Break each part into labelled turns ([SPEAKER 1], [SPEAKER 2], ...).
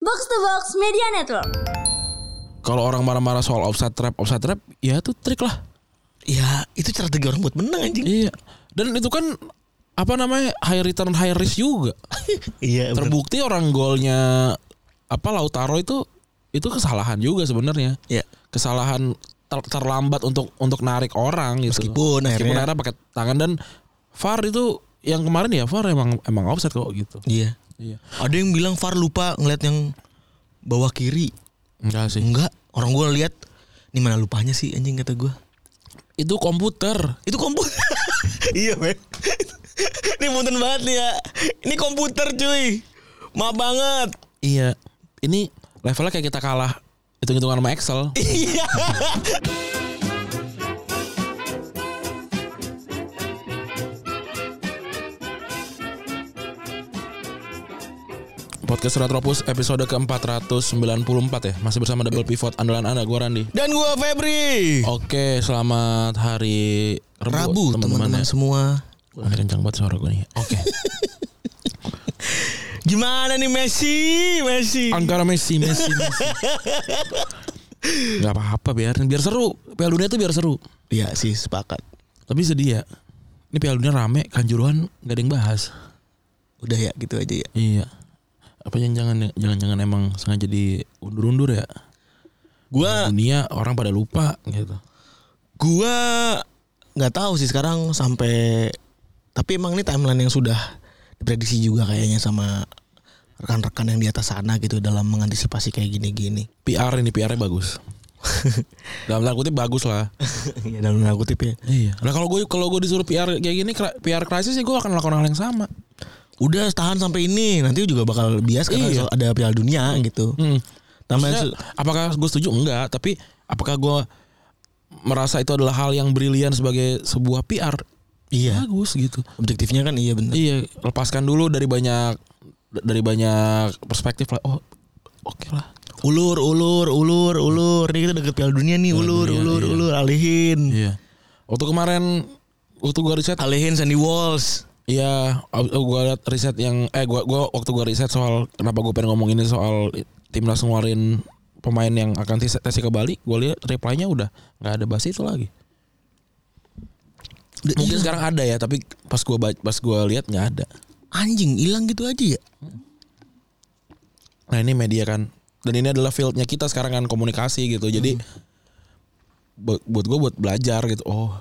[SPEAKER 1] Box to Box Media Network.
[SPEAKER 2] Kalau orang marah-marah soal offside trap, offside trap, ya itu trik lah.
[SPEAKER 3] Ya itu strategi orang buat menang anjing.
[SPEAKER 2] Iya. Dan itu kan apa namanya high return high risk juga.
[SPEAKER 3] iya bener.
[SPEAKER 2] Terbukti orang golnya apa Lautaro itu itu kesalahan juga sebenarnya.
[SPEAKER 3] Iya.
[SPEAKER 2] Kesalahan ter- terlambat untuk untuk narik orang gitu.
[SPEAKER 3] Meskipun
[SPEAKER 2] Meskipun
[SPEAKER 3] akhirnya-
[SPEAKER 2] akhirnya pakai tangan dan VAR itu yang kemarin ya VAR emang emang offset kok gitu.
[SPEAKER 3] Iya.
[SPEAKER 2] Iya.
[SPEAKER 3] Ada yang bilang Far lupa ngeliat yang bawah kiri.
[SPEAKER 2] Enggak sih.
[SPEAKER 3] Enggak. Orang gue lihat ini mana lupanya sih anjing kata gue.
[SPEAKER 2] Itu komputer.
[SPEAKER 3] Itu komputer. iya men. ini punten banget nih ya. Ini komputer cuy. Maaf banget.
[SPEAKER 2] Iya. Ini levelnya kayak kita kalah hitung-hitungan sama Excel.
[SPEAKER 3] Iya.
[SPEAKER 2] Podcast Retropus episode ke-494 ya. Masih bersama Double Pivot andalan Anda gua Randi.
[SPEAKER 3] Dan gue Febri.
[SPEAKER 2] Oke, selamat hari Rebu,
[SPEAKER 3] Rabu teman-teman
[SPEAKER 2] ya.
[SPEAKER 3] semua.
[SPEAKER 2] Wah, kencang banget suara gua nih. Oke.
[SPEAKER 3] Gimana nih Messi? Messi.
[SPEAKER 2] Angkara Messi, Messi, Messi. Gak apa-apa biarin biar seru. Piala Dunia tuh biar seru.
[SPEAKER 3] Iya sih sepakat.
[SPEAKER 2] Tapi sedih ya. Ini Piala Dunia rame, kanjuruhan gak ada yang bahas.
[SPEAKER 3] Udah ya gitu aja ya.
[SPEAKER 2] Iya. Apa yang jangan jangan-jangan emang sengaja diundur-undur ya?
[SPEAKER 3] Gue
[SPEAKER 2] Dunia orang pada lupa gitu.
[SPEAKER 3] gua nggak tahu sih sekarang sampai tapi emang ini timeline yang sudah diprediksi juga kayaknya sama rekan-rekan yang di atas sana gitu dalam mengantisipasi kayak gini-gini.
[SPEAKER 2] PR ini PR-nya bagus. Dalam tanda kutip bagus lah.
[SPEAKER 3] ya dalam tanda kutip ya.
[SPEAKER 2] Iya. Nah kalau gue kalau gue disuruh PR kayak gini kra- PR krisis ya gue akan melakukan hal yang sama.
[SPEAKER 3] Udah tahan sampai ini, nanti juga bakal bias karena
[SPEAKER 2] Iya.
[SPEAKER 3] soal ada Piala Dunia gitu.
[SPEAKER 2] Hmm.
[SPEAKER 3] Tambahan
[SPEAKER 2] Maksudnya, apakah gue setuju enggak? Tapi apakah gue merasa itu adalah hal yang brilian sebagai sebuah PR?
[SPEAKER 3] iya,
[SPEAKER 2] Bagus gitu.
[SPEAKER 3] objektifnya kan iya bener.
[SPEAKER 2] Iya. Lepaskan dulu dari banyak dari banyak perspektif lah. Oh oke lah.
[SPEAKER 3] Ulur, ulur, ulur, ulur. Ini kita deket Piala Dunia nih, ulur,
[SPEAKER 2] Dunia,
[SPEAKER 3] ulur,
[SPEAKER 2] iya.
[SPEAKER 3] ulur, alihin.
[SPEAKER 2] Iya. Waktu kemarin waktu gue riset
[SPEAKER 3] Alihin Sandy Walls.
[SPEAKER 2] Iya, ab- gue liat riset yang eh gue gua waktu gue riset soal kenapa gue pengen ngomong ini soal timnas ngeluarin pemain yang akan tes tes ke Bali, gue lihat reply-nya udah nggak ada bahas itu lagi. Mungkin
[SPEAKER 3] Mungkin
[SPEAKER 2] sekarang ada ya, tapi pas gue pas gua lihat nggak ada.
[SPEAKER 3] anjing hilang gitu aja ya.
[SPEAKER 2] Nah ini media kan, dan ini adalah fieldnya kita sekarang kan komunikasi gitu. Jadi buat buat gue buat belajar gitu. Oh,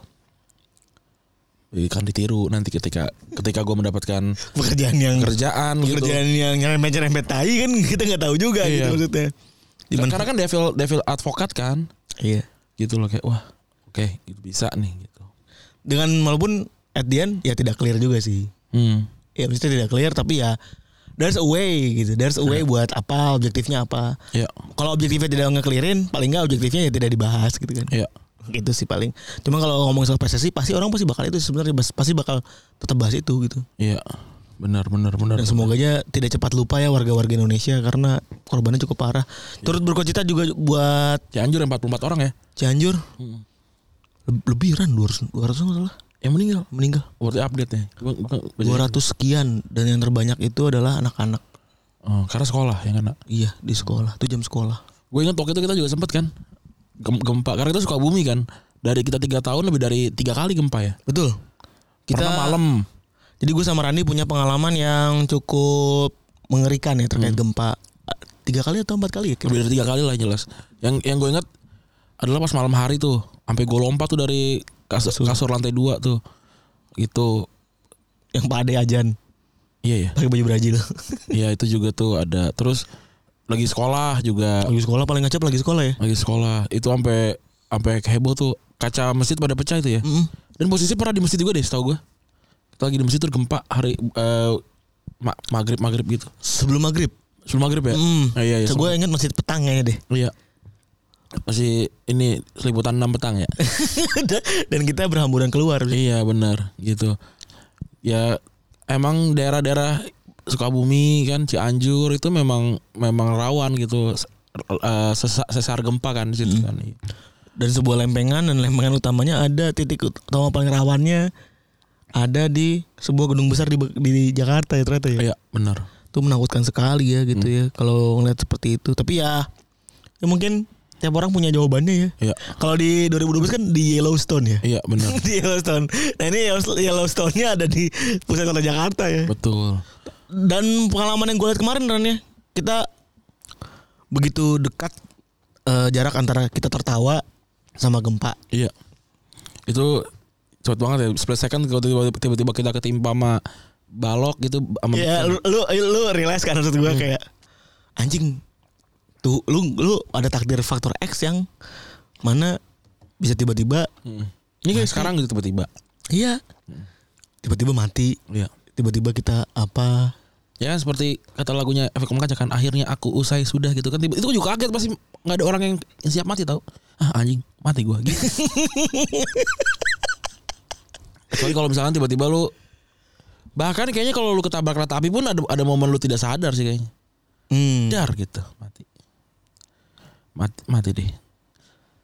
[SPEAKER 2] ini kan ditiru nanti ketika ketika gue mendapatkan
[SPEAKER 3] Pekerjaan yang
[SPEAKER 2] kerjaan gitu.
[SPEAKER 3] Hmm. kerjaan yang nyerempet nyerempet tai kan kita nggak tahu juga
[SPEAKER 2] Iya.
[SPEAKER 3] gitu maksudnya Dimen-
[SPEAKER 2] Karena kan devil devil advokat kan
[SPEAKER 3] iya
[SPEAKER 2] gitu loh kayak wah oke gitu bisa nih gitu.
[SPEAKER 3] dengan walaupun at the end ya tidak clear juga sih
[SPEAKER 2] Hmm.
[SPEAKER 3] ya maksudnya tidak clear tapi ya there's a way gitu there's a way
[SPEAKER 2] Iya.
[SPEAKER 3] buat apa objektifnya apa
[SPEAKER 2] Ya,
[SPEAKER 3] kalau objektifnya tidak ngeklirin paling nggak objektifnya ya tidak dibahas gitu kan
[SPEAKER 2] ya.
[SPEAKER 3] gitu sih paling cuma kalau ngomong soal PSSI pasti orang pasti bakal itu sebenarnya bas- pasti bakal tetap bahas itu gitu
[SPEAKER 2] Iya. Benar benar benar.
[SPEAKER 3] Dan semoga aja tidak cepat lupa ya warga-warga Indonesia karena korbannya cukup parah.
[SPEAKER 2] Iya.
[SPEAKER 3] Turut berkocita juga buat
[SPEAKER 2] Cianjur 44 orang ya
[SPEAKER 3] Cianjur. Leb- Lebih kan 200 200 nggak salah
[SPEAKER 2] yang meninggal.
[SPEAKER 3] meninggal.
[SPEAKER 2] Worthy update nih. Gua- gua- gua-
[SPEAKER 3] 200 sekian dan yang terbanyak itu adalah anak-anak.
[SPEAKER 2] Oh, karena sekolah yang kena.
[SPEAKER 3] Iya, di sekolah. Itu jam sekolah.
[SPEAKER 2] Gue ingat waktu itu kita juga sempet kan gem- gempa karena itu suka bumi kan. Dari kita tiga tahun lebih dari tiga kali gempa ya.
[SPEAKER 3] Betul. Kita
[SPEAKER 2] Pernah malam.
[SPEAKER 3] Jadi gue sama Randi punya pengalaman yang cukup mengerikan ya terkait gempa. Eh, Tiga kali atau empat kali ya?
[SPEAKER 2] Lebih dari tiga kali lah jelas. Yang yang gue ingat adalah pas malam hari tuh, sampai gue lompat tuh dari kasur, kasur lantai dua tuh, gitu.
[SPEAKER 3] Yang Pak Ade Ajan
[SPEAKER 2] Iya ya.
[SPEAKER 3] pakai baju Brazil.
[SPEAKER 2] Iya itu juga tuh ada. Terus lagi sekolah juga,
[SPEAKER 3] lagi sekolah paling ngacap lagi sekolah ya.
[SPEAKER 2] lagi sekolah. Itu sampai sampai heboh tuh kaca masjid pada pecah itu ya.
[SPEAKER 3] Mm-mm.
[SPEAKER 2] Dan posisi pernah di masjid juga deh, setahu gue. Kita lagi di masjid tuh gempa hari eh, ma- maghrib maghrib gitu.
[SPEAKER 3] Sebelum maghrib.
[SPEAKER 2] Sebelum maghrib ya.
[SPEAKER 3] Mm.
[SPEAKER 2] Ah, iya iya.
[SPEAKER 3] gue ingat masih petang kayaknya deh.
[SPEAKER 2] sebelum- Iya. Masih ini seliputan 6 petang ya.
[SPEAKER 3] Dan kita berhamburan keluar.
[SPEAKER 2] iya benar gitu. Ya emang daerah-daerah Sukabumi kan Cianjur itu memang memang rawan gitu s- eh, sesa- sesar gempa kan di situ kan.
[SPEAKER 3] dan sebuah lempengan dan lempengan utamanya ada titik utama paling rawannya ada di sebuah gedung besar di, di Jakarta ya ternyata ya.
[SPEAKER 2] Iya Hmm. benar.
[SPEAKER 3] itu menakutkan sekali ya gitu ya kalau ngeliat seperti itu tapi ya ya mungkin tiap orang punya jawabannya ya
[SPEAKER 2] Iya.
[SPEAKER 3] kalau di 2012 kan di Yellowstone ya
[SPEAKER 2] Iya benar.
[SPEAKER 3] di Yellowstone nah ini Yellow- Yellowstone-nya ada di pusat kota Jakarta ya
[SPEAKER 2] Betul.
[SPEAKER 3] dan pengalaman yang gue lihat kemarin Ran ya kita begitu dekat eh, jarak antara kita tertawa sama gempa
[SPEAKER 2] Iya. Itu cepet banget ya. Split second kalau tiba- tiba-tiba kita ketimpa sama balok gitu sama
[SPEAKER 3] ya lu lu, lu realize kan maksud gue kayak anjing tuh lu lu ada takdir faktor X yang mana bisa tiba-tiba
[SPEAKER 2] Hmm. Ini kayak sekarang gitu tiba-tiba.
[SPEAKER 3] iya tiba-tiba mati
[SPEAKER 2] Iya.
[SPEAKER 3] tiba-tiba kita apa
[SPEAKER 2] Ya kan seperti kata lagunya efek kaca kan akhirnya aku usai sudah gitu kan tiba itu gua juga kaget pasti nggak ada orang yang siap mati tau ah anjing mati gua gitu. Kecuali kalau misalkan tiba-tiba lu bahkan kayaknya kalau lu ketabrak kereta api pun ada ada momen lu tidak sadar sih kayaknya
[SPEAKER 3] hmm.
[SPEAKER 2] dar gitu mati mati mati deh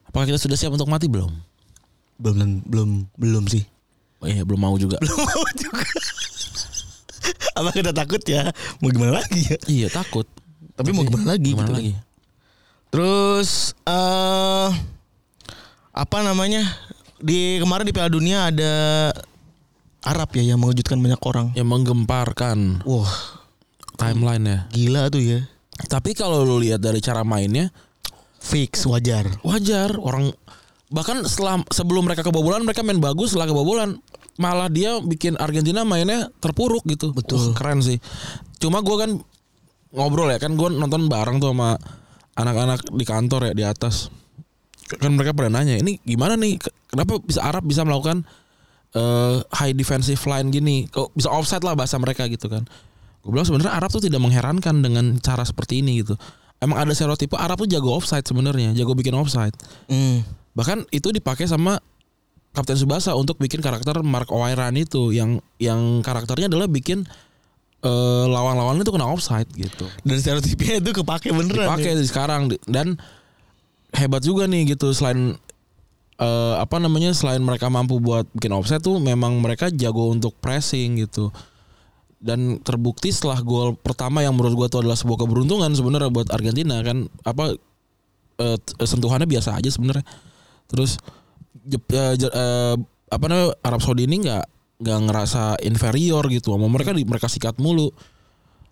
[SPEAKER 2] apakah kita sudah siap untuk mati belum
[SPEAKER 3] belum belum belum sih
[SPEAKER 2] oh, iya belum mau juga
[SPEAKER 3] belum mau juga apa kita takut ya mau gimana lagi ya
[SPEAKER 2] iya takut
[SPEAKER 3] tapi mau gimana lagi
[SPEAKER 2] gimana
[SPEAKER 3] gitu.
[SPEAKER 2] lagi
[SPEAKER 3] Terus eh apa namanya? Di kemarin di Piala Dunia ada Arab ya yang mengejutkan banyak orang.
[SPEAKER 2] yang Ya, menggemparkan
[SPEAKER 3] Wah,
[SPEAKER 2] timeline ya
[SPEAKER 3] gila tuh ya.
[SPEAKER 2] tapi kalau lu lihat dari cara mainnya
[SPEAKER 3] Fix wajar.
[SPEAKER 2] wajar orang bahkan setelah sebelum mereka kebobolan mereka main bagus setelah kebobolan malah dia bikin Argentina mainnya terpuruk gitu
[SPEAKER 3] Betul.
[SPEAKER 2] Wah, keren sih cuma gue kan ngobrol ya kan gue nonton bareng tuh sama anak-anak di kantor ya di atas kan mereka pada nanya ini gimana nih Ke- kenapa bisa Arab bisa melakukan eh, high defensive line gini kok bisa offside lah bahasa mereka gitu kan gue bilang sebenarnya Arab tuh tidak mengherankan dengan cara seperti ini gitu emang ada stereotipe Arab tuh jago offside sebenarnya jago bikin offside
[SPEAKER 3] Hmm.
[SPEAKER 2] bahkan itu dipakai sama Kapten Subasa untuk bikin karakter Mark Oiran itu yang yang karakternya adalah bikin eh, lawan-lawannya itu kena offside gitu
[SPEAKER 3] Dan stereotipnya itu kepake beneran.
[SPEAKER 2] dipakai
[SPEAKER 3] ya.
[SPEAKER 2] di sekarang Di- dan hebat juga nih gitu selain eh, apa namanya selain mereka mampu buat bikin offset tuh memang mereka jago untuk pressing gitu dan terbukti setelah gol pertama yang menurut gua tuh adalah sebuah keberuntungan sebenarnya buat Argentina kan apa eh, t- eh, sentuhannya biasa aja sebenarnya terus Jep- eh, Jer- eh, apa namanya Arab Saudi ini nggak nggak ngerasa inferior gitu sama mereka di mereka sikat mulu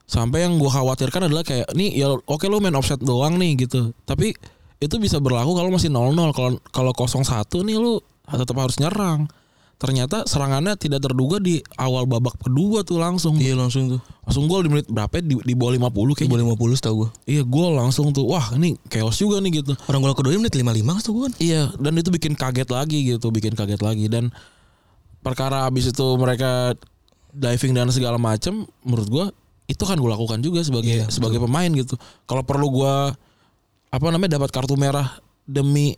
[SPEAKER 2] sampai yang gue khawatirkan adalah kayak nih ya oke lo main offset doang nih gitu tapi itu bisa berlaku kalau masih 0-0 kalau kalau 0-1 nih lu tetap harus nyerang ternyata serangannya tidak terduga di awal babak kedua tuh langsung
[SPEAKER 3] Iya langsung tuh.
[SPEAKER 2] langsung gol di menit berapa ya? di, di bawah 50
[SPEAKER 3] Di
[SPEAKER 2] kayaknya
[SPEAKER 3] bawah 50 setahu gue.
[SPEAKER 2] iya gol langsung tuh wah ini chaos juga nih gitu
[SPEAKER 3] Orang gol kedua menit 55 setahu gue kan.
[SPEAKER 2] Iya, dan itu bikin kaget lagi gitu, bikin kaget lagi dan perkara abis itu mereka diving dan segala macem, menurut gua itu kan gue lakukan juga sebagai
[SPEAKER 3] Iya,
[SPEAKER 2] sebagai pemain gitu. Kalau perlu gua apa namanya dapat kartu merah demi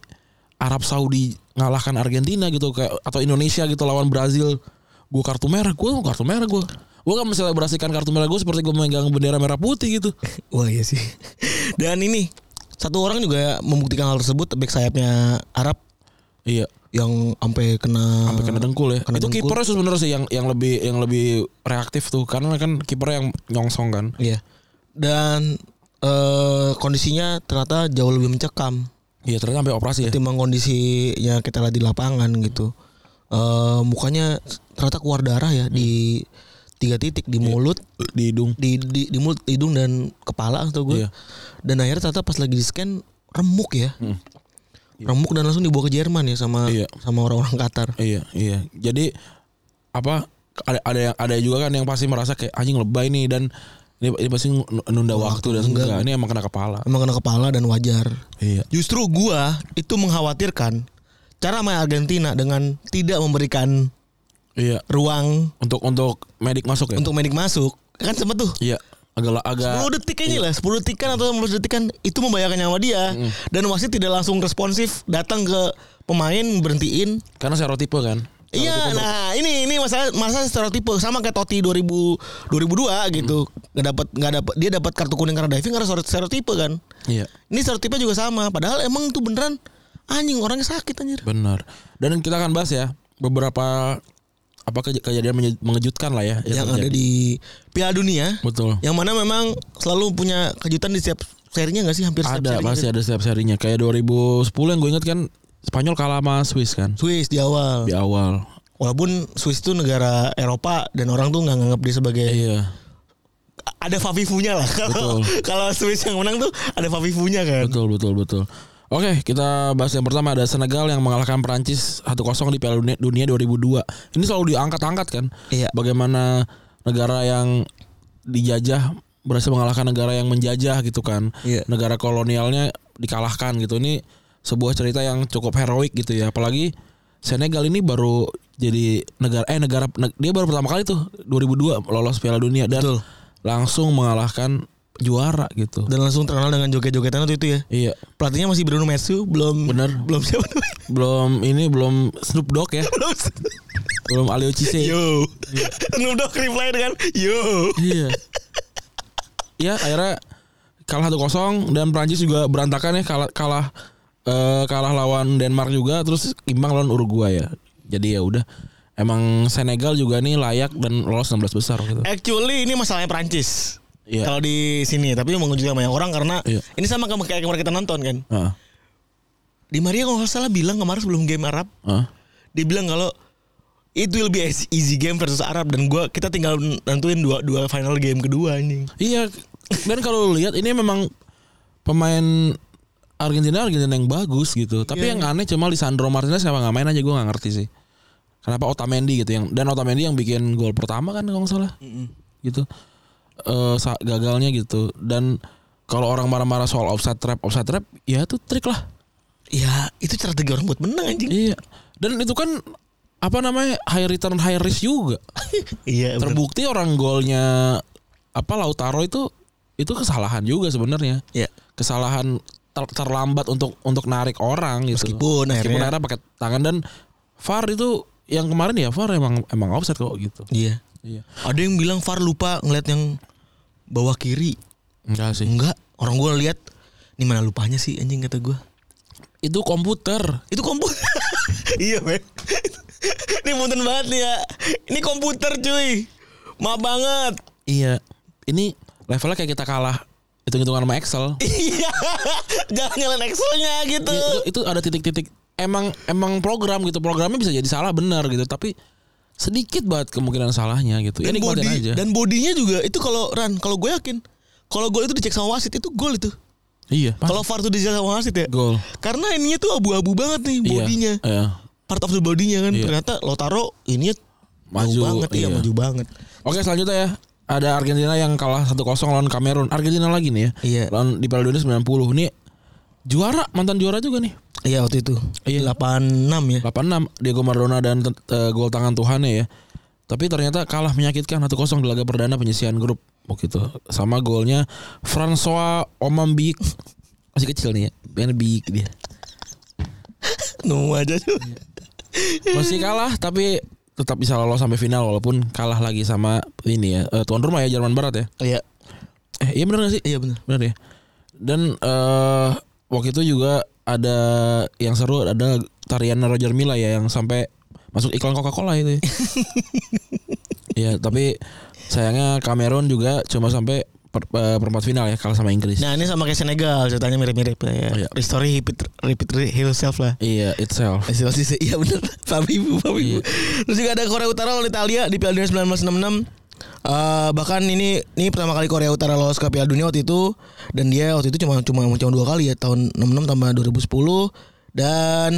[SPEAKER 2] Arab Saudi ngalahkan Argentina gitu kayak atau Indonesia gitu lawan Brazil, gua kartu merah, gua kartu merah gua. Gua kan menselebrasikan kartu merah gue seperti gue memegang bendera merah putih gitu.
[SPEAKER 3] Wah iya sih. Dan ini satu orang juga membuktikan hal tersebut back sayapnya Arab
[SPEAKER 2] Iya.
[SPEAKER 3] yang sampai kena
[SPEAKER 2] sampai kena dengkul ya.
[SPEAKER 3] Hmm. Kena
[SPEAKER 2] itu
[SPEAKER 3] dengkul.
[SPEAKER 2] kipernya sih sebenarnya sih yang yang lebih yang lebih reaktif tuh karena kan kipernya yang nyongsong kan.
[SPEAKER 3] Iya. Dan eh kondisinya ternyata jauh lebih mencekam
[SPEAKER 2] Iya ternyata sampai operasi ya.
[SPEAKER 3] ketimbang kondisinya kita lihat di lapangan gitu. Eh mukanya ternyata keluar darah ya di tiga titik di mulut,
[SPEAKER 2] Di hidung.
[SPEAKER 3] di, di di mulut, hidung dan kepala atau gue.
[SPEAKER 2] Iya.
[SPEAKER 3] Dan akhirnya ternyata pas lagi di scan remuk ya. Remuk dan langsung dibawa ke Jerman ya sama
[SPEAKER 2] Hmm. Iya.
[SPEAKER 3] sama orang-orang Qatar.
[SPEAKER 2] Iya iya. Jadi apa ada ada yang ada juga kan yang pasti merasa kayak anjing lebay nih dan ini, ini pasti n- nunda waktu, dan
[SPEAKER 3] enggak.
[SPEAKER 2] enggak. ini emang kena kepala.
[SPEAKER 3] Emang kena kepala dan wajar.
[SPEAKER 2] Iya.
[SPEAKER 3] Justru gua itu mengkhawatirkan cara main Argentina dengan tidak memberikan
[SPEAKER 2] Iya.
[SPEAKER 3] ruang
[SPEAKER 2] Untuk untuk medik masuk ya.
[SPEAKER 3] untuk medik masuk. Kan sempet tuh.
[SPEAKER 2] Iya. Agak agak
[SPEAKER 3] 10 detik aja lah, 10 detikan atau 15 detikan itu membahayakan nyawa dia. Dan wasit tidak langsung responsif datang ke pemain berhentiin.
[SPEAKER 2] karena stereotipe kan.
[SPEAKER 3] Iya, nah ini ini masalah masalah stereotipe sama kayak Totti 2000 2002 gitu.
[SPEAKER 2] Mm.
[SPEAKER 3] Nggak dapat nggak dapat dia dapat kartu kuning karena diving karena stereotipe kan.
[SPEAKER 2] Iya.
[SPEAKER 3] Ini stereotipe juga sama. Padahal emang itu beneran anjing orangnya sakit anjir.
[SPEAKER 2] Benar. Dan kita akan bahas ya beberapa apa ke- kejadian menye- mengejutkan lah ya
[SPEAKER 3] yang ada
[SPEAKER 2] terjadi.
[SPEAKER 3] di Piala Dunia
[SPEAKER 2] betul
[SPEAKER 3] yang mana memang selalu punya kejutan di setiap serinya gitu. nggak sih hampir setiap
[SPEAKER 2] ada
[SPEAKER 3] seri
[SPEAKER 2] pasti ada setiap serinya kayak 2010 yang gue inget kan Spanyol kalah sama Swiss kan
[SPEAKER 3] Swiss di awal
[SPEAKER 2] di awal
[SPEAKER 3] walaupun Swiss itu negara Eropa dan orang tuh nggak nganggap dia sebagai
[SPEAKER 2] iya
[SPEAKER 3] ada Fafifunya lah kalau kalau Swiss yang menang tuh ada Fafifunya kan
[SPEAKER 2] betul betul betul Oke, kita bahas yang pertama ada Senegal yang mengalahkan Perancis 1-0 di Piala Dunia- Dunia 2002. Ini selalu diangkat-angkat kan?
[SPEAKER 3] Iya.
[SPEAKER 2] Bagaimana negara yang dijajah berhasil mengalahkan negara yang menjajah gitu kan?
[SPEAKER 3] Iya.
[SPEAKER 2] Negara kolonialnya dikalahkan gitu. Ini sebuah cerita yang cukup heroik gitu ya. Apalagi Senegal ini baru jadi negara eh negara neg- dia baru pertama kali tuh 2002 lolos Piala Dunia dan
[SPEAKER 3] Betul.
[SPEAKER 2] langsung mengalahkan juara gitu.
[SPEAKER 3] dan langsung terkenal dengan joget-jogetan waktu itu ya
[SPEAKER 2] Iya.
[SPEAKER 3] pelatihnya masih Bruno Metsu belum
[SPEAKER 2] Bener.
[SPEAKER 3] belum siapa namanya
[SPEAKER 2] belum ini belum Snoop Dogg ya
[SPEAKER 3] belum
[SPEAKER 2] belum Alio Cisse
[SPEAKER 3] yo Snoop Dogg reply dengan yo
[SPEAKER 2] iya ya akhirnya kalah 1-0 dan Prancis juga berantakan ya kalah kalah eh, kalah lawan Denmark juga terus imbang lawan Uruguay ya jadi ya udah emang Senegal juga nih layak dan lolos 16 besar gitu
[SPEAKER 3] Eh, actually ini masalahnya Prancis
[SPEAKER 2] Iya.
[SPEAKER 3] kalau di sini tapi mengejutkan banyak orang karena
[SPEAKER 2] Iya.
[SPEAKER 3] ini sama kayak kayak kemarin kita nonton kan
[SPEAKER 2] Heeh.
[SPEAKER 3] di Maria kalau nggak salah bilang kemarin sebelum game Arab
[SPEAKER 2] Heeh.
[SPEAKER 3] dia bilang kalau it will be as easy game versus Arab dan gua kita tinggal nentuin dua dua final game kedua anjing.
[SPEAKER 2] iya dan kalau lu lihat ini memang pemain Argentina Argentina yang bagus gitu tapi yang aneh cuma Lisandro Martinez kenapa nggak main aja gue nggak ngerti sih kenapa Otamendi gitu yang dan Otamendi yang bikin gol pertama kan kalau nggak salah gitu Eh, sa- gagalnya gitu dan kalau orang marah-marah soal offside trap offside trap ya itu trik lah
[SPEAKER 3] Ya itu strategi orang buat menang anjing.
[SPEAKER 2] iya dan itu kan apa namanya high return high risk juga
[SPEAKER 3] Iya bener.
[SPEAKER 2] terbukti orang golnya apa Lautaro itu itu kesalahan juga sebenarnya
[SPEAKER 3] Ya.
[SPEAKER 2] kesalahan ter- terlambat untuk untuk narik orang gitu.
[SPEAKER 3] Meskipun
[SPEAKER 2] meskipun
[SPEAKER 3] akhirnya-
[SPEAKER 2] akhirnya pakai tangan dan VAR itu yang kemarin ya VAR emang emang offset kok gitu.
[SPEAKER 3] Iya.
[SPEAKER 2] Iya.
[SPEAKER 3] Ada yang bilang Far lupa ngeliat yang bawah kiri.
[SPEAKER 2] Enggak sih.
[SPEAKER 3] Enggak, orang gua lihat ini mana lupanya sih anjing kata gua.
[SPEAKER 2] Itu komputer.
[SPEAKER 3] Itu komputer. iya, men. ini punten banget nih ya. Ini komputer cuy. Maaf banget.
[SPEAKER 2] Iya. Ini levelnya kayak kita kalah hitung-hitungan sama Excel.
[SPEAKER 3] Iya. Jangan nyalain Excelnya gitu.
[SPEAKER 2] Iya, itu, itu ada titik-titik emang emang program gitu. Programnya bisa jadi salah benar gitu, tapi sedikit banget kemungkinan salahnya gitu. Ya
[SPEAKER 3] dan
[SPEAKER 2] nikmatin
[SPEAKER 3] body
[SPEAKER 2] aja.
[SPEAKER 3] dan bodinya juga itu kalau Ran kalau gue yakin kalau gol itu dicek sama wasit itu gol itu
[SPEAKER 2] iya.
[SPEAKER 3] kalau VAR itu dicek sama wasit ya
[SPEAKER 2] Gol.
[SPEAKER 3] karena ininya tuh abu-abu banget nih
[SPEAKER 2] Iya,
[SPEAKER 3] bodinya
[SPEAKER 2] Iya.
[SPEAKER 3] part of the bodinya kan
[SPEAKER 2] Iya.
[SPEAKER 3] ternyata Lautaro ininya
[SPEAKER 2] Maju,
[SPEAKER 3] jauh banget iya.
[SPEAKER 2] iya.
[SPEAKER 3] maju banget
[SPEAKER 2] Oke selanjutnya ya ada Argentina yang kalah 1-0 lawan Kamerun. Argentina lagi nih ya.
[SPEAKER 3] Iya.
[SPEAKER 2] Lawan di Piala Dunia 90. Ini juara mantan juara juga nih.
[SPEAKER 3] iya waktu itu
[SPEAKER 2] Iya.
[SPEAKER 3] 86 ya
[SPEAKER 2] 86 Diego Maradona dan eh, gol tangan Tuhannya ya. Tapi ternyata kalah menyakitkan 1-0 di laga perdana penyisian grup begitu. Sama golnya François Omambik masih kecil nih ya. Pengen big dia.
[SPEAKER 3] nu aja tuh
[SPEAKER 2] Masih kalah tapi tetap bisa lolos sampai final walaupun kalah lagi sama ini ya eh, tuan rumah ya Jerman Barat ya.
[SPEAKER 3] iya
[SPEAKER 2] Eh iya bener gak sih?
[SPEAKER 3] iya benar
[SPEAKER 2] Benar ya. Dan eh waktu itu juga ada yang seru ada tarian Roger Milla ya yang sampai masuk iklan Coca-Cola itu. Ya, ya tapi sayangnya Kamerun juga cuma sampai per- eh, perempat final ya kalah sama Inggris.
[SPEAKER 3] nah ini sama kayak Senegal ceritanya mirip-mirip lah ya
[SPEAKER 2] Iya.
[SPEAKER 3] Restore repeat repeat himself lah
[SPEAKER 2] Iya itself.
[SPEAKER 3] Masih masih sih. Iya benar. Paham ibu, paham ibu. Terus juga ada Korea Utara lawan Italia di Piala Dunia 1966. Eh, bahkan ini ini pertama kali Korea Utara lolos ke Piala Dunia waktu itu dan dia waktu itu cuma cuma cuma dua kali ya tahun 66 tambah 2010 dan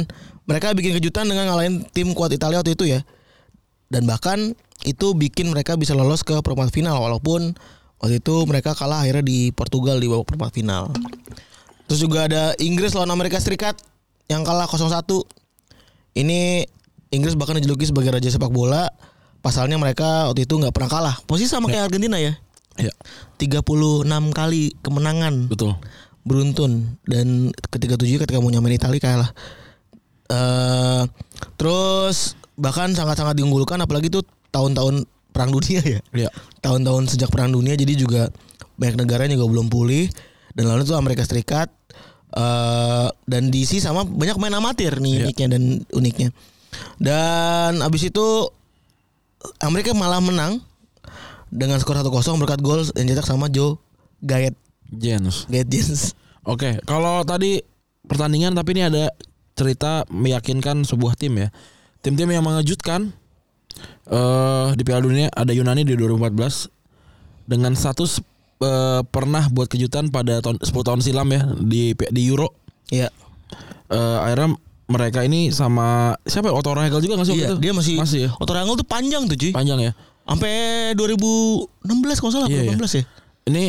[SPEAKER 3] mereka bikin kejutan dengan ngalahin tim kuat Italia waktu itu ya dan bahkan itu bikin mereka bisa lolos ke perempat final walaupun waktu itu mereka kalah akhirnya di Portugal di babak perempat final. Terus juga ada Inggris lawan Amerika Serikat yang kalah 0-1. Ini Inggris bahkan dijuluki sebagai raja sepak bola. Pasalnya mereka waktu itu nggak pernah kalah. Posisi sama kayak Argentina ya.
[SPEAKER 2] Iya
[SPEAKER 3] 36 kali kemenangan
[SPEAKER 2] betul.
[SPEAKER 3] beruntun dan ketika tujuh ketika mau nyamain Italia kalah. eh terus bahkan sangat-sangat diunggulkan apalagi tuh tahun-tahun perang dunia ya.
[SPEAKER 2] Iya.
[SPEAKER 3] Tahun-tahun sejak perang dunia jadi juga banyak negara yang juga belum pulih dan lalu itu Amerika Serikat eh dan diisi sama banyak main amatir
[SPEAKER 2] Iya.
[SPEAKER 3] nih uniknya dan uniknya. Dan abis itu Amerika malah menang dengan skor 1-0 berkat gol yang cetak sama Joe Gayet
[SPEAKER 2] Jens.
[SPEAKER 3] Gayet Jens.
[SPEAKER 2] Oke, kalau tadi pertandingan tapi ini ada cerita meyakinkan sebuah tim ya. Tim-tim yang mengejutkan eh di Piala Dunia ada Yunani di 2014 dengan status eh, pernah buat kejutan pada tahun 10 tahun silam ya di di Euro.
[SPEAKER 3] Iya.
[SPEAKER 2] Eh, akhirnya mereka ini sama siapa ya? Otto Rehagel juga nggak sih waktu
[SPEAKER 3] Iya,
[SPEAKER 2] itu?
[SPEAKER 3] dia masih
[SPEAKER 2] masih ya?
[SPEAKER 3] Otor Angel tuh panjang tuh, cuy.
[SPEAKER 2] panjang ya.
[SPEAKER 3] Sampai 2016 kalau nggak salah,
[SPEAKER 2] Iya, iya.
[SPEAKER 3] 2018 ya.
[SPEAKER 2] ini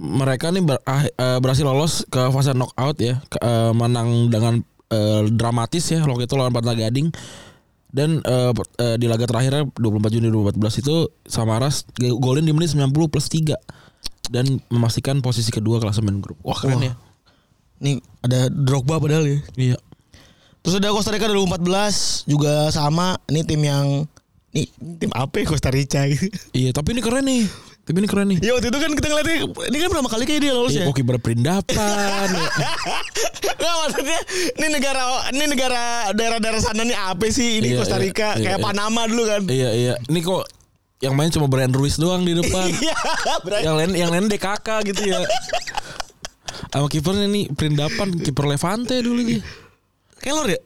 [SPEAKER 2] mereka nih ber- ah- eh, berhasil lolos ke fase knockout ya Ke- eh, menang dengan eh, dramatis ya waktu itu lawan Pantai Gading dan eh, per- eh, di laga terakhirnya 24 Juni 2014 itu Samaras ge- golin di menit 90 plus 3 dan memastikan posisi kedua klasemen grup. Wah keren ya.
[SPEAKER 3] Nih ada Drogba padahal ya.
[SPEAKER 2] Iya.
[SPEAKER 3] Terus ada Costa Rica 2014 juga sama. Ini tim yang nih ini tim apa ya Costa Rica gitu.
[SPEAKER 2] Iya, tapi ini keren nih. Tapi ini keren nih.
[SPEAKER 3] Ya waktu itu kan kita ngeliatnya ini kan pertama kali kayak dia lolos
[SPEAKER 2] Iya,
[SPEAKER 3] ya.
[SPEAKER 2] kok kiper perindapan. ya.
[SPEAKER 3] Nggak maksudnya ini negara ini negara daerah-daerah sana nih apa sih ini
[SPEAKER 2] Iya,
[SPEAKER 3] Costa
[SPEAKER 2] iya,
[SPEAKER 3] Rica
[SPEAKER 2] iya,
[SPEAKER 3] kayak
[SPEAKER 2] iya.
[SPEAKER 3] Panama dulu kan.
[SPEAKER 2] iya, iya. Ini kok yang main cuma Brian Ruiz doang di depan.
[SPEAKER 3] Iya, berarti
[SPEAKER 2] yang lain yang lain DKK gitu ya sama kipernya nih perindapan kiper Levante dulu dia
[SPEAKER 3] Kelor ya?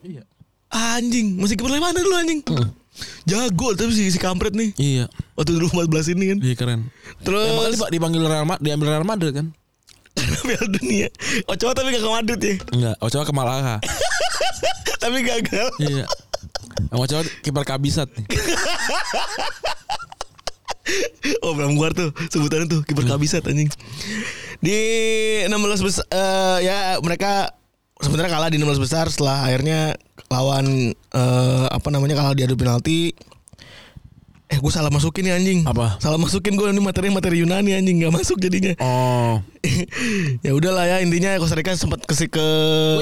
[SPEAKER 3] Anjing, masih kiper mana dulu anjing. Jago tapi si, si kampret nih.
[SPEAKER 2] Hmm. iya
[SPEAKER 3] Waktu 2014 ini kan.
[SPEAKER 2] iya keren
[SPEAKER 3] Terus
[SPEAKER 2] emang kali pak dipanggil Real Madrid diambil Real Madrid kan
[SPEAKER 3] Piala Dunia. Ochoa tapi gak ke Madrid ya.
[SPEAKER 2] enggak Ochoa ke Malaga
[SPEAKER 3] tapi gagal.
[SPEAKER 2] iya sama Ochoa kiper kabisat nih
[SPEAKER 3] Oh Bram Guar tuh sebutannya tuh kiper kabisat
[SPEAKER 2] Hmm.
[SPEAKER 3] anjing. Di 16 besar ya mereka sebenarnya kalah di 16 besar setelah akhirnya lawan eh, apa namanya kalah di adu penalti. Eh gue salah masukin nih anjing.
[SPEAKER 2] Apa?
[SPEAKER 3] Salah masukin gue ini materi materi Yunani anjing nggak masuk jadinya.
[SPEAKER 2] oh
[SPEAKER 3] ya udahlah ya intinya Costa Rica sempat ke ke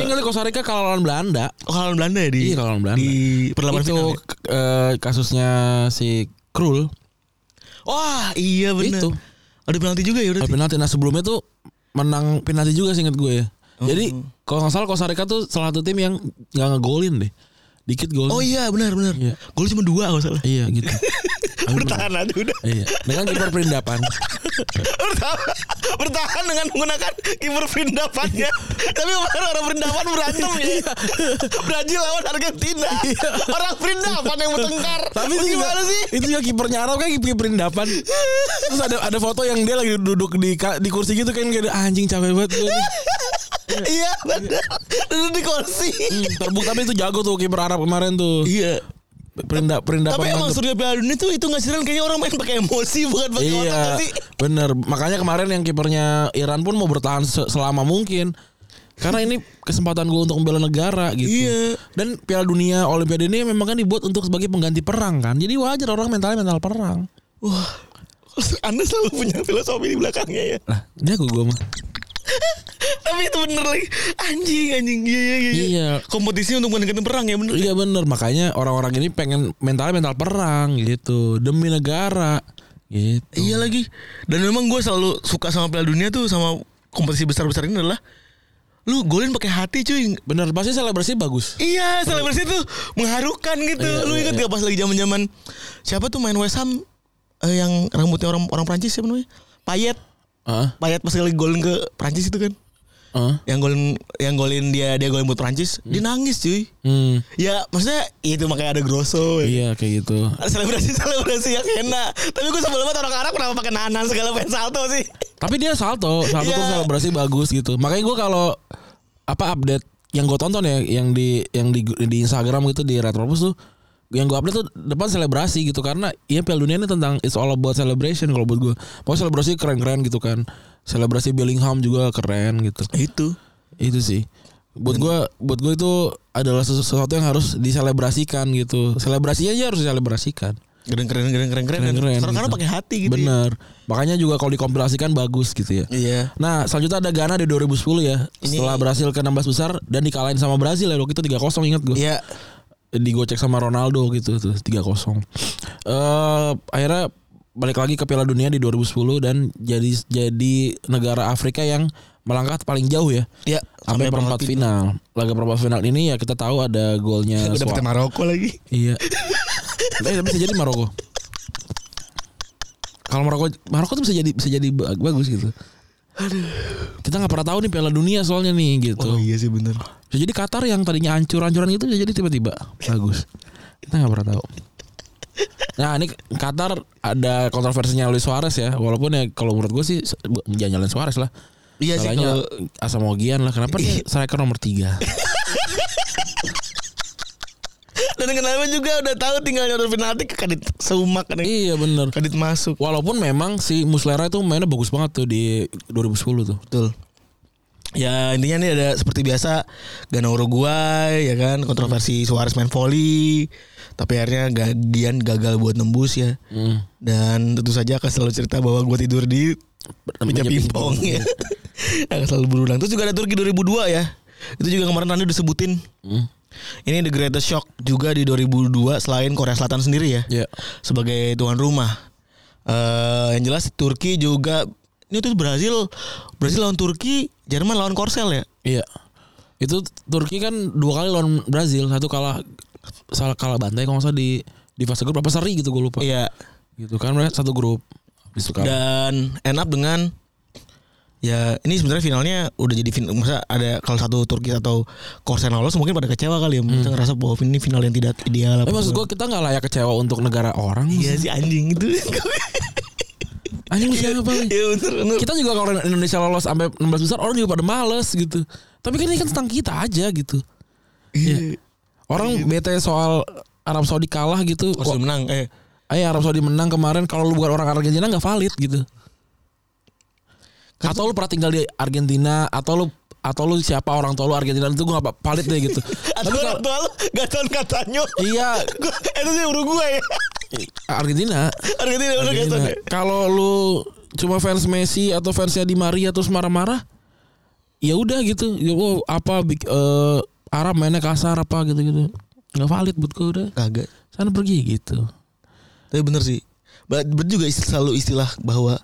[SPEAKER 2] gue ingat Costa Rica kalah lawan Belanda
[SPEAKER 3] oh, lawan Belanda ya di
[SPEAKER 2] Iya, kalah lawan Belanda.
[SPEAKER 3] di perlawanan
[SPEAKER 2] itu
[SPEAKER 3] final. ya?
[SPEAKER 2] k- eh, kasusnya si Krul
[SPEAKER 3] Wah iya benar.
[SPEAKER 2] Itu.
[SPEAKER 3] Ada penalti juga ya udah.
[SPEAKER 2] Kalau penalti nah sebelumnya tuh menang penalti juga sih inget gue ya. Jadi kalau nggak salah Costa Rica tuh salah satu tim yang nggak ngegolin deh. Dikit gol.
[SPEAKER 3] Oh iya benar benar.
[SPEAKER 2] Iya.
[SPEAKER 3] Gol cuma dua kalau salah.
[SPEAKER 2] Iya gitu. Tapi menang.
[SPEAKER 3] Bertahan aja udah.
[SPEAKER 2] Iya. Dengan kiper perindapan.
[SPEAKER 3] bertahan, bertahan dengan menggunakan kiper perindapannya. Tapi kemarin orang perindapan berantem ya. Brazil lawan Argentina. orang perindapan yang bertengkar. Tapi
[SPEAKER 2] itu
[SPEAKER 3] gimana
[SPEAKER 2] juga-
[SPEAKER 3] sih?
[SPEAKER 2] Itu juga kipernya Arab kan kiper perindapan. Terus ada ada foto yang dia lagi duduk di ka- di kursi gitu kan kayak anjing capek banget gue nih.
[SPEAKER 3] Iya, benar. Duduk di kursi.
[SPEAKER 2] Hmm, terbukti tapi itu jago tuh kiper Arab kemarin tuh.
[SPEAKER 3] Iya.
[SPEAKER 2] Perinda perindapan.
[SPEAKER 3] Tapi emang
[SPEAKER 2] mantep.
[SPEAKER 3] surga Piala Dunia tuh itu ngasiran kayaknya orang main pakai emosi bukan pakai otak
[SPEAKER 2] Iya,
[SPEAKER 3] gak sih.
[SPEAKER 2] bener. Makanya kemarin yang kipernya Iran pun mau bertahan se- selama mungkin. Karena ini kesempatan gue untuk membela negara gitu.
[SPEAKER 3] Iya.
[SPEAKER 2] Dan Piala Dunia Olimpiade ini memang kan dibuat untuk sebagai pengganti perang kan. Jadi wajar orang mentalnya mental perang.
[SPEAKER 3] Wah. Anda selalu punya filosofi di belakangnya ya.
[SPEAKER 2] Lah, jago gue mah.
[SPEAKER 3] Tapi itu bener lagi Anjing anjing Iya iya iya,
[SPEAKER 2] Iya.
[SPEAKER 3] Kompetisi untuk meningkatkan perang ya bener
[SPEAKER 2] Iya bener. Makanya orang-orang ini pengen mentalnya mental perang gitu. Demi negara gitu.
[SPEAKER 3] Iya lagi Dan memang gue selalu suka sama Piala Dunia tuh Sama kompetisi besar-besar ini adalah Lu golin pakai hati cuy
[SPEAKER 2] Bener, pasti selebrasi bagus.
[SPEAKER 3] Iya selebrasi itu mengharukan gitu
[SPEAKER 2] Iya,
[SPEAKER 3] Lu
[SPEAKER 2] iya,
[SPEAKER 3] inget
[SPEAKER 2] iya.
[SPEAKER 3] gak pas lagi zaman zaman Siapa tuh main West Ham eh, Yang rambutnya orang orang Prancis siapa namanya Payet
[SPEAKER 2] Heeh.
[SPEAKER 3] Payet pas lagi golin ke Prancis itu kan
[SPEAKER 2] Heeh.
[SPEAKER 3] Yang golin yang golin dia dia golin buat Prancis Dia nangis cuy
[SPEAKER 2] Hmm.
[SPEAKER 3] Ya maksudnya itu makanya ada Grosso ya.
[SPEAKER 2] Iya kayak gitu.
[SPEAKER 3] selebrasi selebrasi yang enak tapi gue sebelumnya orang Arab kenapa pakai nanan segala main salto sih
[SPEAKER 2] Tapi dia salto, salto
[SPEAKER 3] Iya.
[SPEAKER 2] tuh selebrasi bagus gitu. Makanya gue kalau apa update yang gue tonton ya, yang di yang di, di Instagram gitu di Retropus tuh, yang gue update tuh depan selebrasi gitu karena ya Piala Dunia ini tentang it's all about celebration kalau buat gue. Pokoknya selebrasi keren-keren gitu kan. Selebrasi Bellingham juga keren gitu.
[SPEAKER 3] itu
[SPEAKER 2] Itu sih. Buat gue, buat gue itu adalah sesu- sesuatu yang harus diselebrasikan gitu. Selebrasinya aja harus diselebrasikan.
[SPEAKER 3] keren keren keren keren keren
[SPEAKER 2] Keren-keren.
[SPEAKER 3] orang Arab
[SPEAKER 2] gitu.
[SPEAKER 3] pakai hati gitu ya.
[SPEAKER 2] Bener. Makanya juga kalau dikompilasikan bagus gitu ya.
[SPEAKER 3] iya
[SPEAKER 2] Nah, selanjutnya ada Ghana di 2010 ya.
[SPEAKER 3] Ini-
[SPEAKER 2] Setelah berhasil ke 16 besar dan dikalahin sama Brazil ya. Waktu itu 3-0 ingat gue.
[SPEAKER 3] iya
[SPEAKER 2] Digocek sama Ronaldo gitu tuh 3-0. Eh akhirnya balik lagi ke Piala Dunia di 2010 dan jadi jadi negara Afrika yang melangkah paling jauh ya.
[SPEAKER 3] iya
[SPEAKER 2] Sampai, perempat final. Laga perempat final ini ya kita tahu ada golnya
[SPEAKER 3] gue
[SPEAKER 2] Suarez.
[SPEAKER 3] dapetnya Maroko lagi
[SPEAKER 2] Iya. eh, tapi bisa jadi Maroko. Kalau Maroko Maroko tuh bisa jadi bisa jadi ba- bagus gitu. Kita nggak pernah tahu nih Piala Dunia soalnya nih gitu.
[SPEAKER 3] Oh iya sih bener.
[SPEAKER 2] Bisa jadi Qatar yang tadinya hancur-hancuran itu bisa jadi tiba-tiba bagus. Kita nggak pernah tahu. Nah ini Qatar ada kontroversinya Luis Suarez ya Walaupun ya kalau menurut gue sih se- bu- Jangan nyalain Suarez lah
[SPEAKER 3] Iya sih
[SPEAKER 2] Salahnya
[SPEAKER 3] kalau Iya.
[SPEAKER 2] Asamogian lah Kenapa dia striker nomor 3
[SPEAKER 3] dan kenapa juga udah tahu tinggal nyodor penalti ke kadit seumak kadit,
[SPEAKER 2] Iya bener
[SPEAKER 3] kadit masuk.
[SPEAKER 2] Walaupun memang si Muslera itu mainnya bagus banget tuh Di 2010 tuh
[SPEAKER 3] Betul. Ya intinya ini ada seperti biasa Gana Uruguay ya kan kontroversi Suarez main volley tapi akhirnya Gadian gagal buat nembus ya dan tentu saja akan selalu cerita bahwa gue tidur di
[SPEAKER 2] meja
[SPEAKER 3] meja pingpong ya akan selalu berulang terus juga ada Turki 2002 ya itu juga kemarin Randy udah sebutin
[SPEAKER 2] Hmm.
[SPEAKER 3] ini The Greatest Shock juga di 2002 selain Korea Selatan sendiri ya
[SPEAKER 2] Ya
[SPEAKER 3] sebagai tuan rumah. eh yang jelas Turki juga ini tuh Brazil Brazil lawan Turki, Jerman lawan Korsel ya.
[SPEAKER 2] Iya. Itu Turki kan dua kali lawan Brazil, satu kalah salah kalah bantai kalau nggak salah di di fase grup apa seri gitu gue lupa.
[SPEAKER 3] Iya.
[SPEAKER 2] Gitu kan mereka satu grup. Habis itu kalah.
[SPEAKER 3] Dan end up dengan ya ini sebenarnya finalnya udah jadi final masa ada kalau satu Turki atau Korsel lolos mungkin pada kecewa kali ya mungkin ngerasa bahwa ini final yang tidak ideal
[SPEAKER 2] Eh,
[SPEAKER 3] apa
[SPEAKER 2] maksud gue kita nggak layak kecewa untuk negara orang.
[SPEAKER 3] iya sih anjing itu
[SPEAKER 2] Anjing lu siapa?
[SPEAKER 3] Iya bener, bener.
[SPEAKER 2] Kita juga kalau Indonesia lolos sampai 16 besar orang juga pada males gitu. Tapi kan ini kan tentang kita aja gitu.
[SPEAKER 3] Iya.
[SPEAKER 2] Orang bete soal Arab Saudi kalah gitu.
[SPEAKER 3] Korsel menang eh
[SPEAKER 2] Eh Arab Saudi menang kemarin kalau lu bukan orang Argentina nggak valid gitu. atau lu pernah tinggal di Argentina atau lu atau lu siapa orang tua lu Argentina itu gue nggak valid deh gitu.
[SPEAKER 3] atau
[SPEAKER 2] Tapi
[SPEAKER 3] orang
[SPEAKER 2] kalau
[SPEAKER 3] tua lu Gaton Katanya
[SPEAKER 2] iya
[SPEAKER 3] itu sih Uruguay ya
[SPEAKER 2] Argentina.
[SPEAKER 3] Argentina udah Gaton
[SPEAKER 2] Argentina.
[SPEAKER 3] ya
[SPEAKER 2] Kalau lu cuma fans Messi atau fansnya di Maria terus marah-marah, ya udah gitu. Ya, wow, apa bik- eh, Arab mainnya kasar apa gitu-gitu. Nggak valid buat gue udah.
[SPEAKER 3] kagak
[SPEAKER 2] Sana pergi gitu.
[SPEAKER 3] Tapi bener sih. Ba- Ber juga isti- selalu istilah bahwa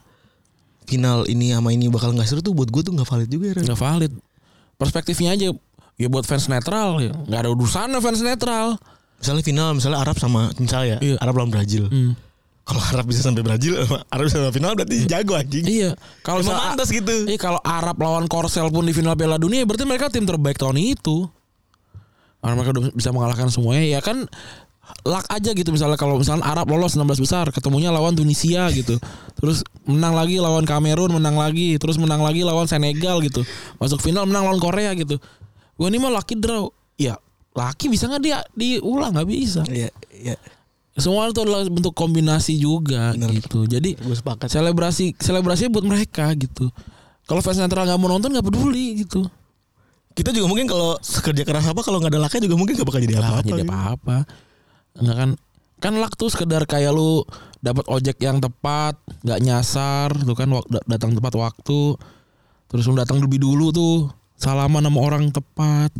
[SPEAKER 3] final ini sama ini bakal nggak seru tuh buat gue tuh nggak valid juga ya.
[SPEAKER 2] nggak valid perspektifnya aja ya buat fans netral ya nggak ada urusannya fans netral
[SPEAKER 3] Misalnya final misalnya Arab sama misalnya ya,
[SPEAKER 2] Iya.
[SPEAKER 3] Arab lawan Brazil.
[SPEAKER 2] Hmm.
[SPEAKER 3] Kalau Arab bisa sampai Brazil, Arab bisa sampai final berarti jago anjing.
[SPEAKER 2] iya kalau
[SPEAKER 3] Emang
[SPEAKER 2] misalnya-
[SPEAKER 3] pantas gitu.
[SPEAKER 2] iya kalau Arab lawan Korsel pun di final Piala Dunia ya berarti mereka tim terbaik tahun itu karena mereka udah bisa mengalahkan semuanya ya kan luck aja gitu misalnya kalau misalnya Arab lolos 16 besar ketemunya lawan Tunisia gitu terus menang lagi lawan Kamerun menang lagi terus menang lagi lawan Senegal gitu masuk final menang lawan Korea gitu gua ini mah lucky draw ya laki bisa nggak dia diulang nggak bisa
[SPEAKER 3] Iya, iya.
[SPEAKER 2] semua itu adalah bentuk kombinasi juga
[SPEAKER 3] Bener.
[SPEAKER 2] gitu jadi
[SPEAKER 3] Gue sepakat.
[SPEAKER 2] selebrasi selebrasi buat mereka gitu kalau fans netral nggak mau nonton nggak peduli gitu
[SPEAKER 3] Kita juga mungkin kalau kerja keras apa kalau nggak ada laka juga mungkin nggak bakal jadi
[SPEAKER 2] nggak
[SPEAKER 3] apa-apa.
[SPEAKER 2] akan jadi
[SPEAKER 3] gitu.
[SPEAKER 2] apa-apa nggak kan kan luck tuh sekedar kayak lu dapat ojek yang tepat nggak nyasar tuh kan wak- da- datang tepat waktu terus lu datang lebih dulu tuh salaman sama orang tepat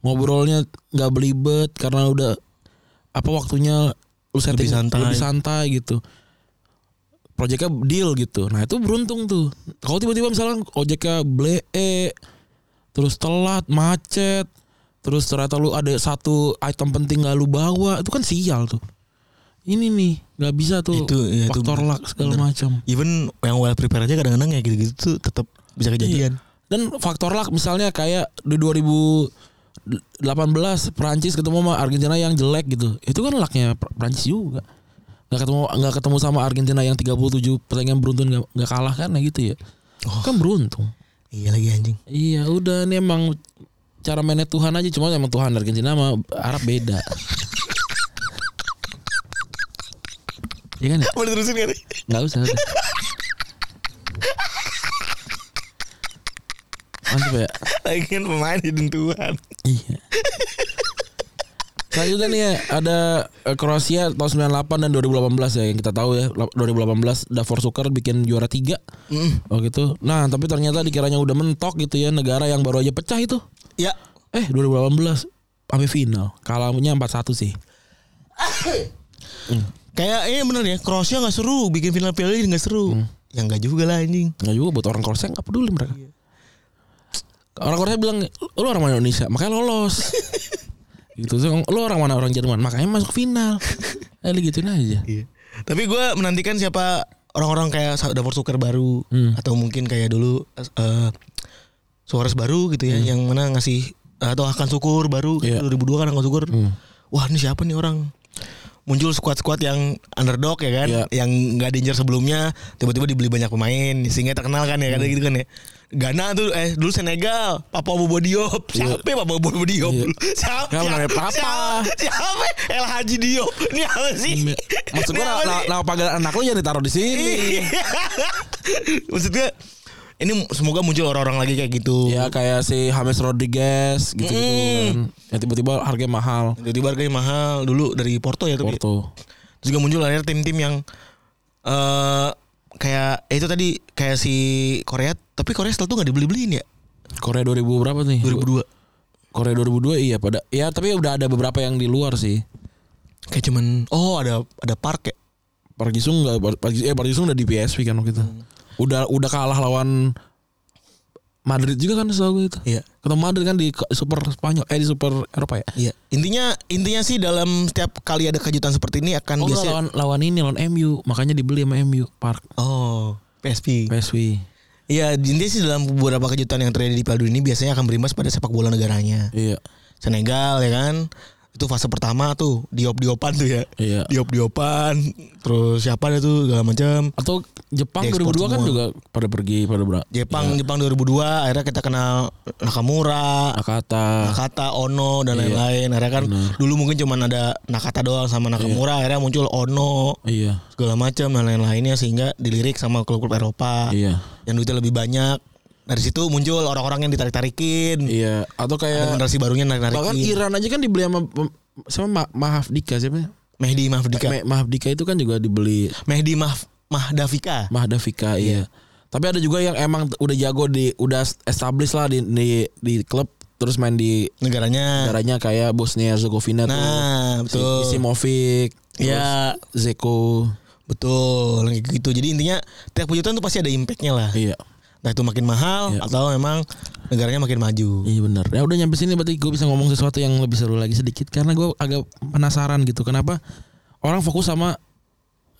[SPEAKER 2] ngobrolnya nggak belibet karena udah apa waktunya lu setting
[SPEAKER 3] Lebih santai.
[SPEAKER 2] lebih santai gitu proyeknya deal gitu nah itu beruntung tuh kalau tiba-tiba misalnya ojeknya blee terus telat macet terus ternyata lu ada satu item penting gak lu bawa itu kan sial tuh ini nih nggak bisa tuh
[SPEAKER 3] Itu, ya, itu
[SPEAKER 2] faktor luck segala
[SPEAKER 3] bener.
[SPEAKER 2] macam
[SPEAKER 3] Even yang well prepared aja kadang-kadang ya gitu-gitu tuh tetap bisa kejadian.
[SPEAKER 2] dan faktor luck misalnya kayak di 2018 Prancis ketemu sama Argentina yang jelek gitu itu kan lucknya Pr- Prancis juga nggak ketemu nggak ketemu sama Argentina yang 37 pertandingan beruntun nggak nggak kalah kan ya gitu ya
[SPEAKER 3] Oh.
[SPEAKER 2] kan beruntung
[SPEAKER 3] Iya lagi anjing.
[SPEAKER 2] Iya udah nih emang cara mainnya Tuhan aja cuma emang Tuhan Argentina sama Arab beda. Iya kan? ya?
[SPEAKER 3] Boleh terusin gak nih?
[SPEAKER 2] Nggak usah. udah. Mantap ya.
[SPEAKER 3] Lagian pemain hidung Tuhan.
[SPEAKER 2] Iya. Selanjutnya nih ya, ada eh, Kroasia tahun 98 dan 2018 ya yang kita tahu ya 2018 Davor Suker bikin juara tiga oh gitu nah tapi ternyata dikiranya udah mentok gitu ya negara yang baru aja pecah itu
[SPEAKER 3] Ya.
[SPEAKER 2] Eh 2018 sampai final. Kalahnya 4-1 sih.
[SPEAKER 3] Kayak ini bener ya Kroasia nggak seru Bikin final Piala Liga nggak seru Ya nggak juga lah anjing
[SPEAKER 2] Enggak juga buat orang Korsel enggak peduli mereka. Orang Korsel bilang lu orang mana Indonesia, makanya lolos. gitu so, lu orang mana orang Jerman, makanya masuk final. Eh lu gituin aja.
[SPEAKER 3] Tapi gue Iya. menantikan siapa orang-orang kayak David Zucker baru
[SPEAKER 2] Hmm.
[SPEAKER 3] atau mungkin kayak dulu eh, Suarez baru gitu ya yang mana ngasih atau akan syukur baru
[SPEAKER 2] Hmm. Iya. Hmm.
[SPEAKER 3] 2002 kan akan syukur. Wah, ini siapa nih orang? Muncul squad-squad yang underdog ya kan,
[SPEAKER 2] Iya.
[SPEAKER 3] yang nggak danger sebelumnya, tiba-tiba dibeli banyak pemain sehingga terkenal kan ya kan
[SPEAKER 2] Hmm.
[SPEAKER 3] gitu kan ya. Ghana tuh eh dulu Senegal, Papa Bobo Diop. Siapa ya Papa Bobo Diop?
[SPEAKER 2] Iya.
[SPEAKER 3] Siapa?
[SPEAKER 2] Nggak, namanya Papa.
[SPEAKER 3] Siapa? Siapa? El Haji Diop. Ini apa sih?
[SPEAKER 2] Maksud gue
[SPEAKER 3] Ini apa sih?
[SPEAKER 2] nama panggilan anak lu jangan ditaruh di sini.
[SPEAKER 3] Maksud gue ini semoga muncul orang-orang lagi kayak gitu.
[SPEAKER 2] Ya kayak si James Rodriguez gitu-gitu kan. Ya tiba-tiba harganya mahal.
[SPEAKER 3] Tiba-tiba harganya mahal dulu dari Porto ya tapi
[SPEAKER 2] Porto.
[SPEAKER 3] terus juga muncul akhirnya tim-tim yang eh kayak eh, itu tadi kayak si Korea tapi Korea setelah itu nggak dibeli-beliin ya
[SPEAKER 2] Korea 2000 berapa nih?
[SPEAKER 3] 2002
[SPEAKER 2] Korea 2002 iya pada ya tapi udah ada beberapa yang di luar sih.
[SPEAKER 3] kayak cuman oh ada ada Park ya
[SPEAKER 2] Park Jisung enggak Park Jisung, eh Park Jisung udah di PSV kan waktu itu. Udah udah kalah lawan Madrid juga kan setahu gue itu.
[SPEAKER 3] Iya.
[SPEAKER 2] Ketemu Madrid kan di ke- Super Spanyol eh di Super Eropa ya.
[SPEAKER 3] iya intinya intinya sih dalam setiap kali ada kejutan seperti ini
[SPEAKER 2] Oh,
[SPEAKER 3] akan
[SPEAKER 2] enggak,
[SPEAKER 3] biasanya
[SPEAKER 2] lawan lawan ini lawan MU, makanya dibeli sama MU Park
[SPEAKER 3] oh PSP
[SPEAKER 2] PSV.
[SPEAKER 3] Iya, intinya sih dalam beberapa kejutan yang terjadi di Piala Dunia ini biasanya akan berimbas pada sepak bola negaranya.
[SPEAKER 2] Iya.
[SPEAKER 3] Senegal ya kan, itu fase pertama tuh diop-diopan tuh ya.
[SPEAKER 2] Iya.
[SPEAKER 3] Diop-diopan, terus siapa ada tuh segala macam.
[SPEAKER 2] Atau Jepang 2002
[SPEAKER 3] Diekspor
[SPEAKER 2] kan
[SPEAKER 3] semua.
[SPEAKER 2] juga pada pergi pada berak.
[SPEAKER 3] Jepang
[SPEAKER 2] Iya.
[SPEAKER 3] Jepang 2002 akhirnya kita kenal Nakamura,
[SPEAKER 2] Nakata.
[SPEAKER 3] Nakata, Ono
[SPEAKER 2] Iya.
[SPEAKER 3] dan lain-lain. Akhirnya kan dulu mungkin cuman ada Nakata doang sama Nakamura, akhirnya muncul Ono
[SPEAKER 2] Iya.
[SPEAKER 3] segala macam dan lain-lainnya sehingga dilirik sama klub-klub Eropa
[SPEAKER 2] Iya.
[SPEAKER 3] yang duitnya lebih banyak. Dari situ muncul orang-orang yang ditarik-tarikin.
[SPEAKER 2] Iya, atau
[SPEAKER 3] Ada
[SPEAKER 2] kayak
[SPEAKER 3] generasi barunya narik
[SPEAKER 2] bahkan
[SPEAKER 3] narikin
[SPEAKER 2] Iran aja kan dibeli sama sama Ma- Mahafdika siapa? ya?
[SPEAKER 3] Mehdi Mahfdika
[SPEAKER 2] Ma- Mahafdika itu kan juga dibeli
[SPEAKER 3] Mehdi Mahf Mahdafika
[SPEAKER 2] Mahdafika iya. Tapi ada juga yang emang t- udah jago di udah established lah di di, di klub terus main di
[SPEAKER 3] negaranya
[SPEAKER 2] negaranya kayak Bosnia Herzegovina
[SPEAKER 3] nah
[SPEAKER 2] tuh. Si
[SPEAKER 3] betul
[SPEAKER 2] Isimovic,
[SPEAKER 3] Iya.
[SPEAKER 2] terus Zeko.
[SPEAKER 3] betul kayak gitu jadi intinya tiap kejutan tuh pasti ada impactnya lah
[SPEAKER 2] Iya.
[SPEAKER 3] nah itu makin mahal atau memang negaranya makin maju
[SPEAKER 2] Iya benar. Ya udah nyampe sini berarti gue bisa ngomong sesuatu yang lebih seru lagi sedikit karena gue agak penasaran gitu. Kenapa orang fokus sama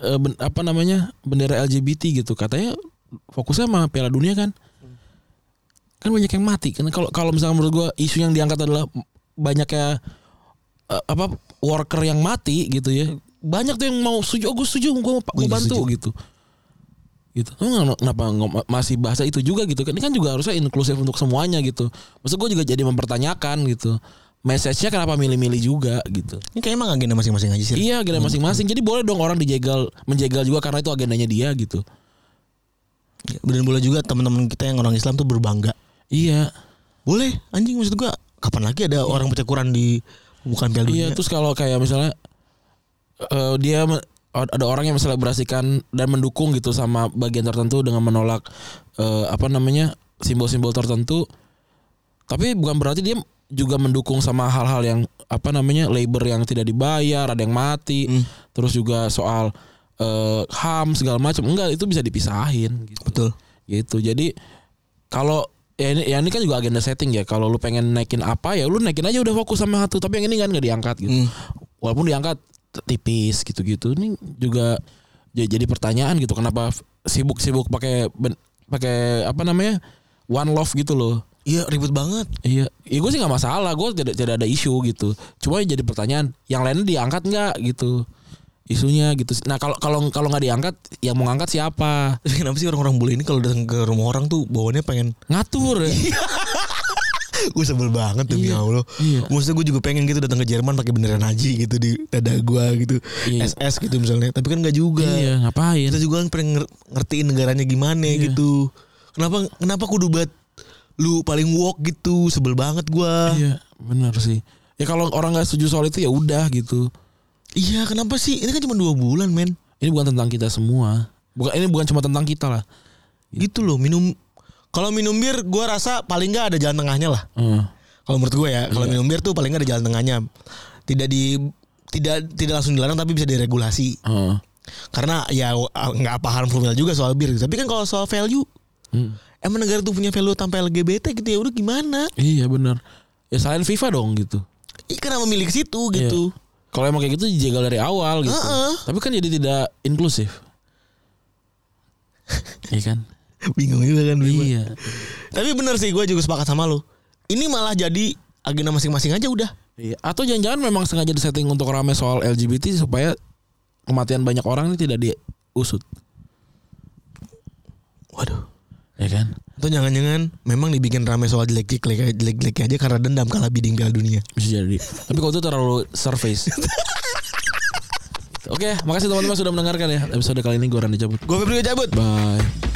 [SPEAKER 2] eh, ben- apa namanya bendera LGBT gitu? Katanya fokusnya sama Piala Dunia kan? Kan banyak yang mati. Kan kalau kalau misalnya menurut gue isu yang diangkat adalah banyaknya eh, apa worker yang mati gitu ya. Banyak tuh yang mau setuju, oh, gue setuju, gue mau,
[SPEAKER 3] Gua
[SPEAKER 2] gua
[SPEAKER 3] juga
[SPEAKER 2] bantu
[SPEAKER 3] setuju.
[SPEAKER 2] gitu. Gitu. Lu nggak- kenapa ngom- masih bahasa itu juga gitu kan? Ini kan juga harusnya inklusif untuk semuanya gitu. Maksud gue juga jadi mempertanyakan gitu. Message-nya kenapa milih-milih juga gitu.
[SPEAKER 3] ini kayaknya emang agenda masing-masing aja sih
[SPEAKER 2] Iya, agenda masing-masing. Jadi boleh dong orang dijegal, menjegal juga karena itu agendanya dia gitu.
[SPEAKER 3] dan boleh juga teman-teman kita yang orang Islam tuh berbangga
[SPEAKER 2] Iya.
[SPEAKER 3] boleh anjing maksud gua kapan lagi ada orang pecekuran di bukan Piala Dunia
[SPEAKER 2] Iya, terus kalau kayak misalnya eh, dia me- ada orang yang menselebrasikan dan mendukung gitu sama bagian tertentu dengan menolak eh, apa namanya simbol-simbol tertentu. Tapi bukan berarti dia juga mendukung sama hal-hal yang apa namanya labor yang tidak dibayar, ada yang mati, terus juga soal eh, ham segala macam. Enggak, itu bisa dipisahin gitu
[SPEAKER 3] betul
[SPEAKER 2] gitu jadi kalau ya ini, ya ini kan juga agenda setting ya kalau lu pengen naikin apa ya lu naikin aja udah fokus sama satu tapi yang ini kan nggak diangkat gitu
[SPEAKER 3] Hmm.
[SPEAKER 2] walaupun diangkat t- tipis gitu-gitu ini juga j- jadi pertanyaan gitu kenapa f- sibuk-sibuk pakai ben- pakai apa namanya one love gitu loh
[SPEAKER 3] iya ribet banget
[SPEAKER 2] Iya, ya gue sih nggak masalah, gue tidak tidak ada isu gitu. Cuma yang jadi pertanyaan, yang lainnya diangkat nggak gitu isunya gitu. Nah kalau kalau kalau nggak diangkat, yang mau ngangkat siapa?
[SPEAKER 3] Tapi kenapa sih orang-orang bule ini kalau datang ke rumah orang tuh bawaannya pengen
[SPEAKER 2] Ngatur. ya.
[SPEAKER 3] gue sebel banget demi Allah.
[SPEAKER 2] Iya.
[SPEAKER 3] Maksudnya gue juga pengen gitu datang ke Jerman pakai bendera Nazi gitu di dada gue gitu.
[SPEAKER 2] Iya.
[SPEAKER 3] SS gitu misalnya. Tapi kan nggak juga.
[SPEAKER 2] Iya, ngapain?
[SPEAKER 3] Kita juga kan pengen nger- ngertiin negaranya gimana gitu. Kenapa kenapa kudu buat lu paling woke gitu sebel banget gue.
[SPEAKER 2] Iya, benar sih. Ya kalau orang nggak setuju soal itu ya udah gitu.
[SPEAKER 3] Iya kenapa sih? Ini kan cuma dua bulan men.
[SPEAKER 2] Ini bukan tentang kita semua. Bukan ini bukan cuma tentang kita lah.
[SPEAKER 3] Gitu loh minum. Kalau minum bir gue rasa paling nggak ada jalan tengahnya lah.
[SPEAKER 2] Heeh.
[SPEAKER 3] Kalau menurut gue ya, kalau minum bir tuh paling nggak ada jalan tengahnya. Tidak di tidak tidak langsung dilarang tapi bisa diregulasi.
[SPEAKER 2] Heeh.
[SPEAKER 3] karena ya w- a- nggak paham formula juga soal bir tapi kan kalau soal value
[SPEAKER 2] Hmm.
[SPEAKER 3] emang negara tuh punya value tanpa LGBT gitu ya udah gimana
[SPEAKER 2] Iya benar. Ya selain FIFA dong gitu.
[SPEAKER 3] Ih, kenapa milik situ gitu
[SPEAKER 2] Iya. Kalau emang kayak gitu dijegal dari awal gitu.
[SPEAKER 3] Heeh.
[SPEAKER 2] Tapi kan jadi tidak inklusif.
[SPEAKER 4] Iya kan?
[SPEAKER 3] Bingung juga kan Bima.
[SPEAKER 4] Iya.
[SPEAKER 3] Tapi bener sih gue juga sepakat sama lu. Ini malah jadi agenda masing-masing aja udah.
[SPEAKER 2] Iya. Atau jangan-jangan memang sengaja disetting untuk rame soal LGBT supaya kematian banyak orang ini tidak diusut.
[SPEAKER 3] Waduh.
[SPEAKER 4] Iya kan?
[SPEAKER 3] Atau jangan-jangan memang dibikin rame soal jelek-jelek jelek-jelek aja karena dendam kalah bidding Piala Dunia.
[SPEAKER 2] Bisa jadi. Tapi kalau itu terlalu surface. Oke, makasih teman-teman sudah mendengarkan ya. Episode kali ini gue Randy cabut.
[SPEAKER 3] Gue Febri cabut.
[SPEAKER 2] Bye.